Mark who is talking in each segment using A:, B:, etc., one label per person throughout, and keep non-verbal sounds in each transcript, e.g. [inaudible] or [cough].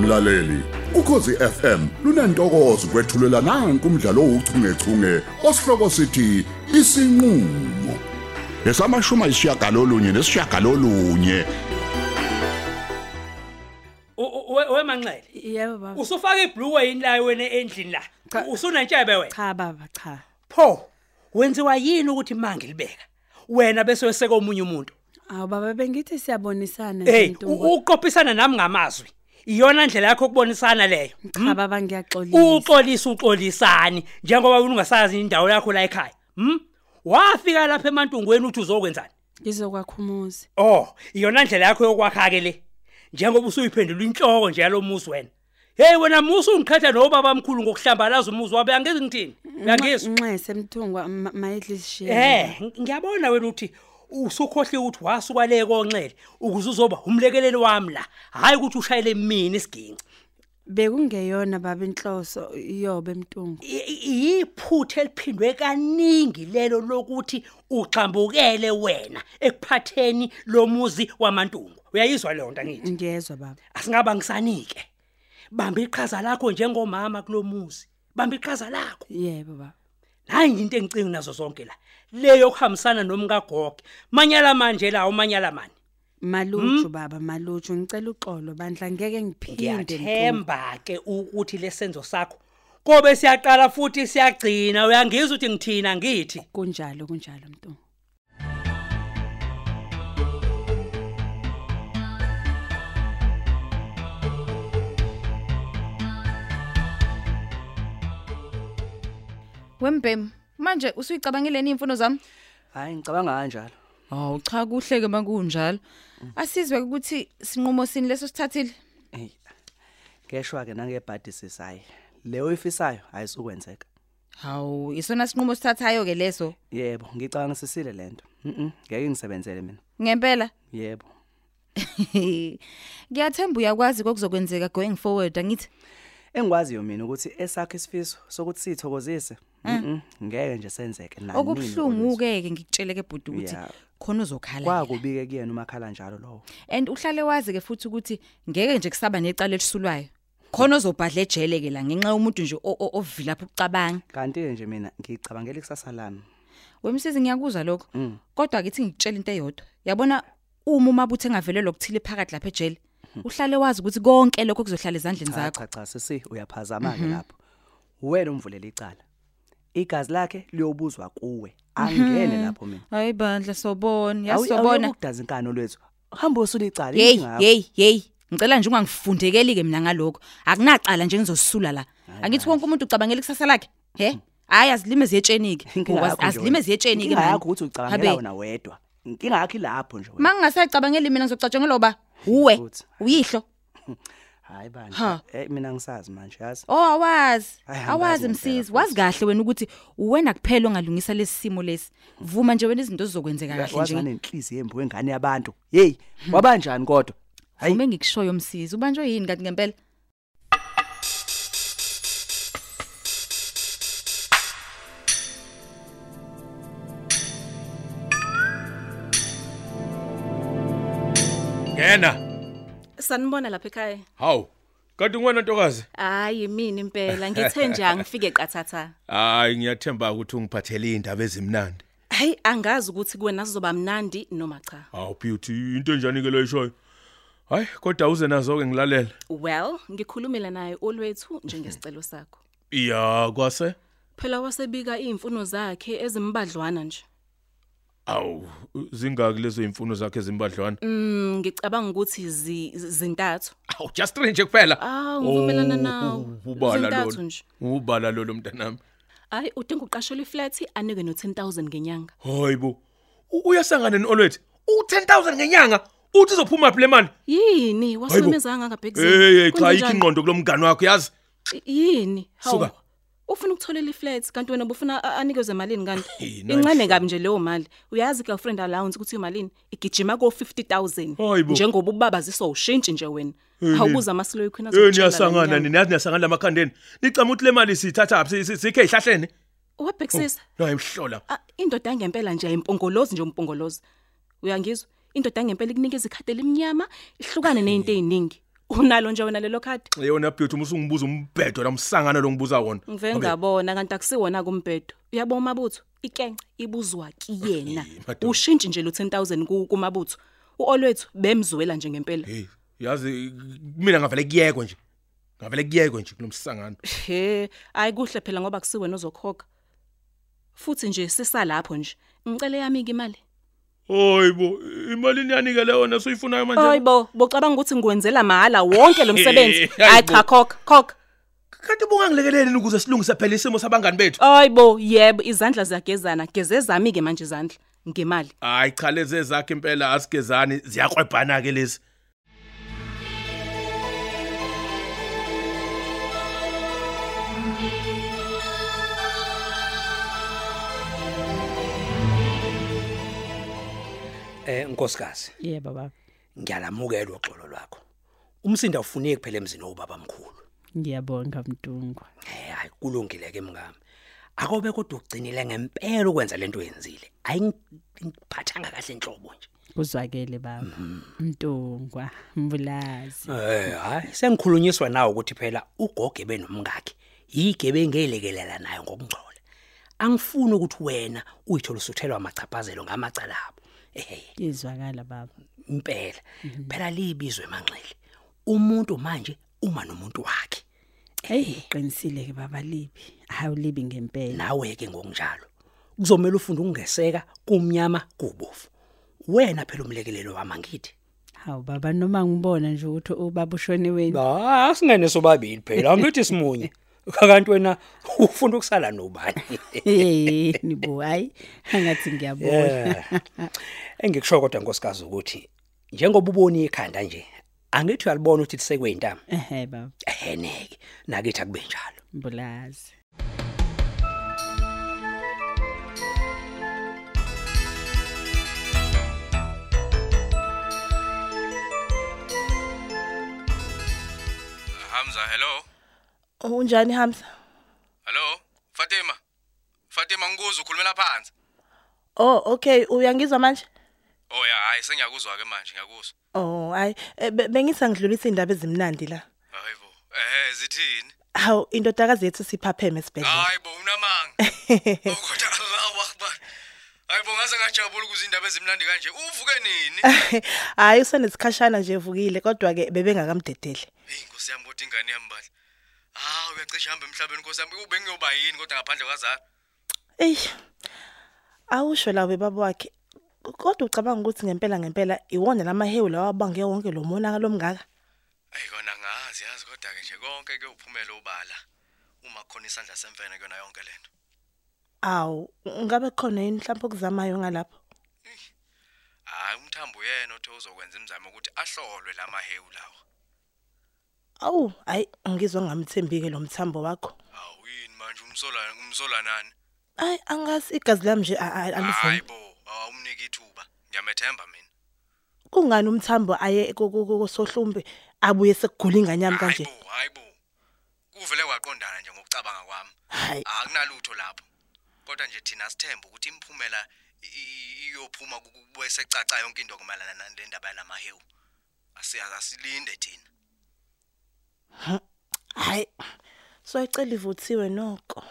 A: mlaleli ukhosi FM lunantokozo kwethulela nanku umdlalo ouchungechunge osihloko sithi isinqulo lesamashuma isiyagalolunye nesishagalolunye
B: wemanxele
C: Yebo baba.
B: usufaka iblue wayini la wena endlini la
C: Cha.
B: usunantshebe wena
C: Cha baba cha.
B: pho wenziwa yini ukuthi mangilibeka wena bese weseke omunye umuntu
C: Awu baba bengithi siyabonisana nje
B: hey
C: into.
B: uqophisana nami ngamazwi iyona ndlela yakho yokubonisana leyo Hmm?
C: Cha baba ngiyaxolisa.
B: uxolisa uxolisani njengoba wena ungasazi indawo yakho la ekhaya hm wafika lapha emantungweni uthi uzokwenzani
C: Ngizokwakhumuza.
B: oh iyona ndlela yakho yokwakha ke le njengoba usuyiphendula inhloko nje yalomuzi wena hey wena musu ungikhetha nobaba omkhulu ngokuhlambalaza umuzi wabe angeke ngithini uyangizwa
C: Nxese mthungwa ma- mayidli sishiye.
B: Eh, ng- ngiyabona wena uthi usukhohle ukuthi wasuka le konxele ukuze uzoba umlekeleli wami la. Hayi ukuthi ushayele mina isiginci.
C: Bekungeyona baba inhloso yobe mthungu.
B: I- i- Iphuthe eliphindwe kaningi lelo lokuthi uxambukele wena ekuphatheni lomuzi wamantungu. Uyayizwa leyo nto ngithi.
C: Ngiyezwa baba.
B: Asingaba ngisanike. Bamba iqhaza lakho njengomama kulomuzi. Bamba iqhaza lakho.
C: Yebo baba.
B: Hayi into engicinga nazo zonke la. Leyo kuhambisana nomkaGogo. Manyala manje la umanyala manje. Hmm?
C: Maluju baba maluju ngicela uxolo bandla ngeke ngiphinde Mthungu.
B: ngiyathemba ke ukuthi lesenzo sakho kobe siyaqala futhi siyagcina uyangizwa ukuthi ngithina ngithi
C: kunjalo kunjalo mntu
D: Wembem, manje usuyicabangile ni imfuno zami?
E: Hayi ngicabanga kanjalo.
D: Hawu cha kuhle ke makunjalo. Asizwe ukuthi sinqumo sini leso sithathile.
E: Hey. Ngeshwa ke nangebhadisi sayi. Le oyifisayo ayisukwenzeka.
D: Hawu, isona sinqumo sithathayo ke leso.
E: Yebo, ngicabanga sisile lento. Mhm. Ngeke ngisebenzele mina.
D: Ngempela. [laughs]
E: Yebo.
D: Ngiyathemba uyakwazi kokuzokwenzeka going forward angithi.
E: Engikwaziyo mina ukuthi esakhe isifiso sokuthi sithokozise.
D: Mm.
E: Mhm. Ngeke nje senzeke nani.
D: Okubhlungu ke ke ngikutsheleke bhuti ukuthi
E: Yeah.
D: khona uzokhala.
E: kwakubike kuyena umakhala njalo lowo.
D: And uhlale wazi ke futhi ukuthi ngeke nje kusaba necala elisulwayo. Khona uzobhadla ejele ke la ngenxa yomuntu nje o- o- ovila phu ucabanga.
E: Kanti ke nje mina ngicabangela ikusasa lami. Mm.
D: Wemsizi ngiyakuzwa lokho. Kodwa akithi ngikutshela into eyodwa. Yabona uma umabuthe engavele lokuthile phakathi lapha ejele, uhlale wazi ukuthi konke lokho kuzohlala ezandleni
E: Mm. Cha
D: zakho.
E: cha cha sisi uyaphazama
D: Mhm.
E: ke lapho. Wena umvulela icala. Igazi lakhe liyobuzwa kuwe.
D: Mhm.
E: Angene lapho mina.
D: Hayi bandla sobona,
E: Awu- awuyeke
D: yasobona.
E: ukudaza inkano lwethu. Hamba usulicala
D: Hey, hey, hey. Ngicela nje ungangifundekeli ke mina ngalokho. Akunaqala nje ngizosula la. Angithi konke umuntu ucabangela ikusasa lakhe.
E: Hmm.
D: He? Hayi azilime ziyetshenike. Ukwazi azilime
E: manje.
D: ziyetshenike manje.
E: Yakho ukuthi ucabangela wena wedwa. Inkinga yakho ilapho nje wena.
D: Mangingasayicabangeli mina ngizocatshangelwa ba. Uwe.
E: Futhi.
D: Uyihlo.
E: Hayi
D: Ha.
E: bandla. Eh mina ngisazi manje yazi.
D: Oh awazi.
E: Hhayi, angazi
D: Awazi
E: ngempela
D: msisi.
E: futhi.
D: Wazi kahle wena ukuthi uwena kuphela ongalungisa lesisimo lesi. Vuma nje wena izinto zizokwenzeka kahle
E: Hmm. Wazi
D: nje. Hmm.
E: nenhliziyo yembu wengane yabantu. Hey, wabanjani kodwa? Hayi.
D: Vuma ngikushoyo msisi. Ubanjwe yini kanti ngempela?
F: Ngena.
G: Sanibona lapha ekhaya.
F: Hawu. Kanti ngwena ntokazi?
G: Hayi mina impela ngithe nje angifike qathatha.
F: Hayi ngiyathemba ukuthi ungiphathele indaba ezimnandi.
G: Hayi angazi ukuthi kuwena sizoba mnandi noma cha.
F: Hawu beauty, into enjani ke loyishoyo? Hayi kodwa uze nazo ke ngilalela.
G: Well, ngikhulumela naye olwethu njengesicelo sakho.
F: Ya kwase.
G: Phela wasebika izimfuno zakhe ezimbadlwana nje.
F: Awu zingaki lezo imfuno zakhe ezimbadlwana?
G: Mm ngicabanga ukuthi zi- zintathu.
F: Awu just three nje kuphela. Oh,
G: Ah, ngivumelana nawe.
F: Ubala
G: Zintathu
F: lolo.
G: nje.
F: Ubala lolo mntanami.
G: Hayi udinga uqashelwe iflat anike no10000 ngenyanga.
F: Hayibo. u- Uyasangana nolwethu. U10000 ngenyanga. Uthi uzophuma phi le mani?
G: Yini wasemezanga ngabhekizini?
F: Hey hey cha ikhingqondo kulomngani wakho yazi.
G: Yini?
F: Suka.
G: Hawu. Ufuna ukutholela iflat kanti wena ubufuna a- anikezwe malini kanti?
F: Hey, nice.
G: Incane kabi nje leyo mali. Uyazi girlfriend allowance ukuthi imalini? Igijima ko 50000.
F: Hayibo.
G: Njengoba ubaba ziso ushintshi nje wena.
F: nini?
G: Awubuza amasilo ekhwina
F: Eh niyasangana ninazi niyasangana lamakhandeni. Nicama ukuthi le mali sithatha phi Si- si- sikhe ihlahleni. Oh,
G: Wabhekisisa.
F: No imhlola.
G: Ah, Indoda angempela nje impongolozi nje umpongolozi. Uyangizwa? Indoda angempela ikunikeza ikhati elimnyama, ihlukane nezinto eziningi. unalo nje wena lelo khadi
F: yona beauty uma usungibuza umbhedo namsangana lo ngibuza wona
G: ngive ngabona kanti akusiwona kumbhedo uyabona umabutho ikence ibuzwa kiyena
F: Eh, madod-
G: ushintshi nje lo 10000 kumabutho uolwethu bemzwela nje ngempela
F: hey yazi mina ngavele kuyekho nje ngavele kuyekho nje kulomsangano
G: he ayi kuhle phela ngoba kusiwena ozokhokha futhi nje sisalapho nje ngicela yami ke imali
F: Hoyibo, imali niyanike le yona soyifunayo manje.
G: Hayibo, bocabanga ukuthi ngikwenzela mahala wonke lo msebenzi.
F: Hey,
G: Hayi cha
F: hayibo.
G: khokha, khokha.
F: Kanti bungangilekeleni ukuze silungise phela isimo sabangani bethu.
G: Hayibo, yebo izandla ziyagezana, geze zami ke manje izandla ngemali.
F: Hayi cha leze zakhe impela asigezani ziyakwebhana ke lezi.
B: Eh nkosikazi,
H: Yebo baba.
B: ngiyalamukela uxolo lwakho. Umsindo ufuneki phela emzini obaba mkhulu.
H: Ngiyabonga Mtungu.
B: Eh hayi kulungile ke mngami. Akobe kodwa ugcinile ngempela ukwenza lento oyenzile. Ayingiphathanga kahle inhlobo nje.
H: Kuzwakele baba.
B: Hmm.
H: Mtungwa, mbulazi.
B: Eh hayi sengikhulunyiswa nawe ukuthi phela ugoge benomngakhe. Yigebe ngelekelela nayo ngokungcola. Angifuni ukuthi wena uyithole usuthelwa amachaphazelo ngamacala abo. Ehhe.
H: Izwakala baba.
B: impela
H: Mhm.
B: phela libizwe manxele umuntu manje uma nomuntu wakhe
H: Hey, uqinisile ke baba Libi. Hawu Libi ngempela.
B: nawe ke ngokunjalo kuzomela ufunde ukungeseka kumnyama kubofu wena phela umlekelelo wama ngithi
H: Hawu baba noma ngibona nje ukuthi ubaba ushone wena.
B: ha singene Ah, sobabili phela angithi
H: [laughs]
B: simunye kanti wena ufunda ukusala nobani
H: Hey, nibo hayi. Angathi ngiyabona.
B: Eh, engikusho kodwa nkosikazi ukuthi njengoba uboni ikhanda nje angithi uyalibona ukuthi lisekweyintamo
H: Ehhe baba,
B: eheneke nakithi akube njalo
H: mbulazi.
I: Hamza, hello.
J: Unjani Hamza?
I: Hello. Fatima. Fatima ngikuzo ukhulumela phansi.
J: Oh, okay, uyangizwa manje?
I: Oh ya, hayi sengiyakuzwa ke manje ngiyakuzwa.
J: Oh, hayi eh, be- bengithi ngidlulisa indaba ezimnandi la.
I: Hayibo. Eh, zithini?
J: Hawu, indodakazi yethu siphapheme esibhedlela.
I: Hayibo, unamanga.
J: [laughs]
I: Oh kodwa Allahu akbar. Hayibo ngaze ngajabula ukuze indaba ezimnandi kanje. Uvuke nini?
J: [laughs] Hayi usenesikhashana nje evukile kodwa ke bebengakamdedele.
I: Hey, Nkosi yami kodwa ingane yami bahle. Ah, uyacisha hamba emhlabeni Nkosi yami. Ube ngiyoba yini kodwa ngaphandle kwazalo?
J: Ey. Awusho la bebaba wakhe. Kodwa ucabanga ukuthi ngempela ngempela iwona lamahewu lawa abange wonke lo monaka lomngaka.
I: Hayi kona ngazi yazi kodwa ke nje konke kuyophumela obala. Uma khona isandla semfene kuyona yonke lento.
J: Awu, ngabe khona yini mhlawumbe okuzamayo ngalapha?
I: Hayi umthambo uyena othe uzokwenza imizamo ukuthi ahlolwe lamahewu lawo.
J: Awu, hayi ngizwa ngamthembike lo mthambo wakho.
I: Hawu yini manje umsola umsola nani?
J: Hayi angazi igazi lami nje a- a- alivumi.
I: Hayibo, awumniki ithuba. Ngiyamethemba mina.
J: kungani umthambo aye ku- ku- ku- kusohlumbe abuye sekugula inganyami kanje
I: Hayibo, hayibo. Kuvele kwaqondana nje ngokucabanga kwami.
J: hayi
I: Akunalutho lapho. Kodwa nje thina sithemba ukuthi imphumela i- i- iyophuma kube secaca yonke into kumalana nale ndaba yalamahewu. Asiyazi asilinde thina.
J: hayi soyicela ivuthiwe noko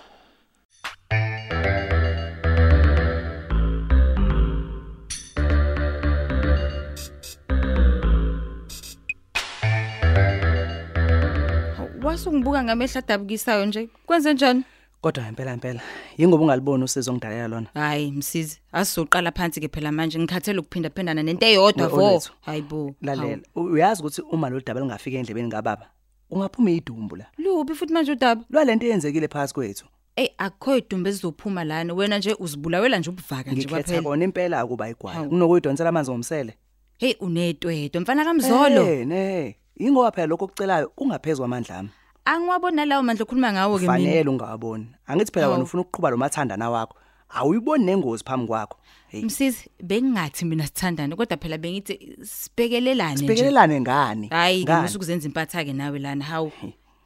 D: Wasungibuka ngamehla adabukisayo nje. Kwenze njani?
E: Kodwa impela impela, yingoba ungaliboni usizo ongidalela lona.
D: Hayi msisi, asizoqala phansi ke phela manje ngikhathele ukuphinda phendana nento eyodwa
E: We-
D: vo.
E: Olwethu.
D: Hayibo.
E: Lalela, u- uyazi ukuthi uma lo daba lingafika endlebeni kababa, ungaphuma idumbu la.
D: Luphi futhi manje udaba?
E: Lwalento eyenzekile phakathi kwethu.
D: Ey akho idumbe ezizophuma lana. Wena nje uzibulawela nje ubuvaka nje
E: Ngikhetha
D: kwaphela.
E: kona impela akuba igwaye.
D: Hawu.
E: Kunokuyidonsela amanzi ngomsele.
D: Hey unetwedo mfana kamzolo.
E: Eh, ne. Ingoba phela lokho okucelayo kungaphezwa amandla ami.
D: Angiwabona lawo mandla okhuluma ngawo ke mina.
E: Kufanele ungawaboni. Angithi phela wena
D: Hawu.
E: ufuna ukuqhuba lo mathandana wakho. Awuyiboni nengozi phambi kwakho. Hey.
D: Msisi bengingathi mina sithandane kodwa phela bengithi sibekelelane nje.
E: Sibekelelane ngani?
D: Hayi
E: Ngani?
D: ngimusa ukuzenza impatha ke nawe lana. Hawu.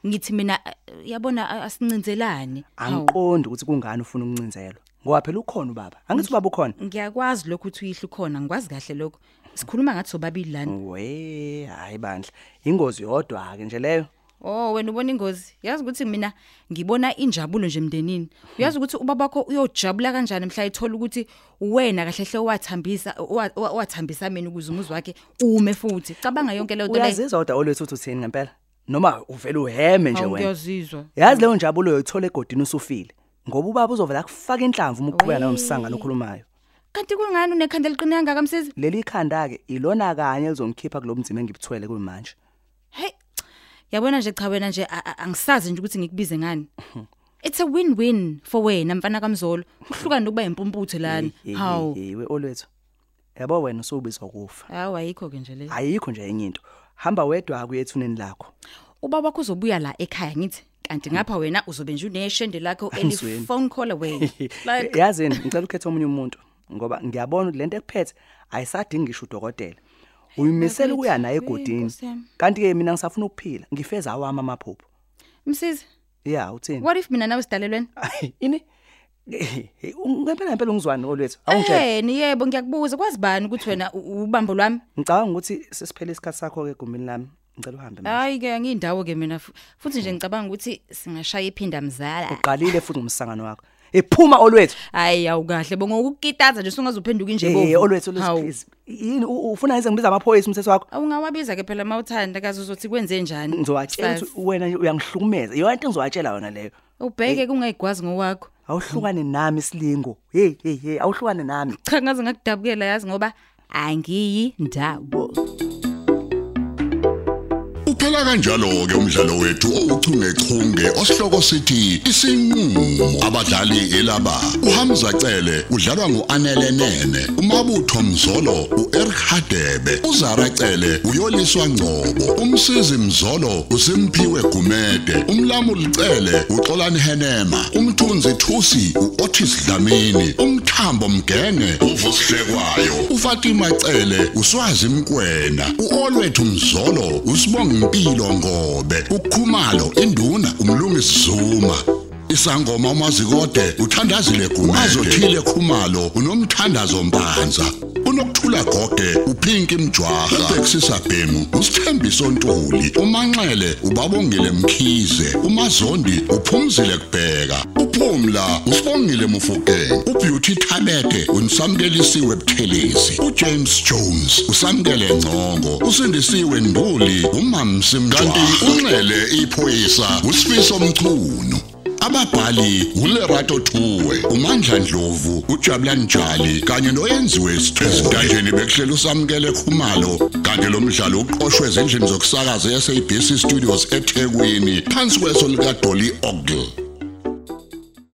D: Ngithi mina eh, yabona a- asincinzelani. Hawu.
E: Angiqondi ukuthi kungani ufuna ukuncinzelwa. Ngoba phela ukhona ubaba. Angithi ubaba ukhona.
D: Ngiyakwazi lokho ukuthi uyihle khona, ngikwazi kahle lokho. sikhuluma ngathi sobabili lana
E: we hayi bandla ingozi yodwa ke nje leyo
D: Oh wena ubona ingozi yazi ukuthi mina ngibona injabulo nje emndenini uyazi ukuthi ubaba wakho uyojabula kanjani mhla ethola ukuthi wena kahle hle wathambisa wa- wa- wathambisa mina ukuze umuzi wakhe ume futhi cabanga yonke leyo nto leyo
E: uyazizwa kodwa olwethu uthi uthini ngempela noma uvela uheme nje wena
D: awuyazizwa
E: yazi leyo njabulo uyithola egodini usufile ngoba ubaba uzovela akufaka inhlamvu uma uqhubeka nayo msanga lokhulumayo
D: kanti kungani unekhanda eliqine kangaka msisi
E: leli khanda ke ilona kanye elizongikhipha kulomdzima engibuthwele kumanje
D: yabona nje cha wena nje a- a- angisazi nje ukuthi ngikubize ngani it's a win-win for wena mfana kamzolo kuhlukana nokuba impumputhe lana hawu
E: yewe olwethu yabo wena usubizwa kufa
D: hawu ayikho ke nje le
E: ayikho nje enye into hamba wedwa kuyethuneni lakho
D: ubaba wakho uzobuya la ekhaya ngithi kanti ngapha wena uzobe nje uneshende lakho eli
E: Ngizweni.
D: phone call away like
E: [laughs] yazini ngicela ukhethe omunye umuntu ngoba ngiyabona ukuthi lento ekuphethe ayisadingi ngisho udokotela uyimisela ukuya naye egodini
D: Nkosi yami.
E: kanti ke mina ngisafuna ukuphila ngifeza awami amaphupho
D: msisi
E: ya uthini
D: what if mina nawe sidalelwena
E: ini Eh, ngempela ngempela ungizwani olwethu awungitshela
D: yeni yebo ngiyakubuza kwazi bani ukuthi wena u- ubambo lwami
E: ngicabanga ukuthi sesiphele isikhathi sakho ke egumbini lami ngicela uhambe manje
D: hayi ke ngiyindawo ke mina fu- futhi nje ngicabanga ukuthi singashaya iphinda mzala
E: Mm. uqalile futhi ngumsangano wakho ephuma olwethu
D: hayi awukahle bongokukitaza nje sungazuphenduka inje
E: Eh,
D: bovu.
E: olwethu
D: Hawu.
E: please yini u- ufuna ngize ngibiza amaphoyisa umthetho wakho
D: awungawabiza ke phela mawuthanda kaze uzothi kwenze njani
E: ngizowatshela
D: Kusasa.
E: ukuthi wena nje uyangihlukumeza yona into engizowatshela yona leyo Eh,
D: ubheke kungayigwazi ngowakho
E: awuhlukane nami isilingo hey hey hey awuhlukane nami
D: cha ngaze ngakudabukela yazi ngoba angiyindawo
A: Uphela kanjalo ke umdlalo wethu ouchungechunge osihloko sithi isinqulo abadlali elaba uHamza Cele udlalwa nguAnele Nene umabutho Mzolo uEric Hadebe uZara Cele uyoliswa Ngcobo umsizi Mzolo uSimpiwe Gumede umlamo ulicele uXolani Henema umthunzi Thusi uOtis Dlamini umthambo Mgenge uvusihlekwayo uFatima Cele uswazi Mkwena uOlwethu Mzolo usibonga impilo ngobe ukhumalo induna umlungisi Zuma isangoma umazikode uthandazile gumazothile khumalo unomthandazo mpanza unokuthula gogwe uphinki mjwaha ubhexisa bhemu usithembiso ntuli umanxele ubabongile mkhize umazondi uphumzile kubheka uphumla usibongile mufukeni ubeauty thabete unisamkelisiwe buthelezi ujames jones usamkele ngcongo usindisiwe nduli umamsi mkanti unxele iphoyisa usifiso mchunu ababhali ulerato thuwe umandla ndlovu ujabulani njali kanye noyenziwe esitanjeni bekuhlela usamukele khumalo kanti lo mdlalo uqoshwe ezindlini zokusakaza yasabc studios ethekwini phansi kweso likadoli ogle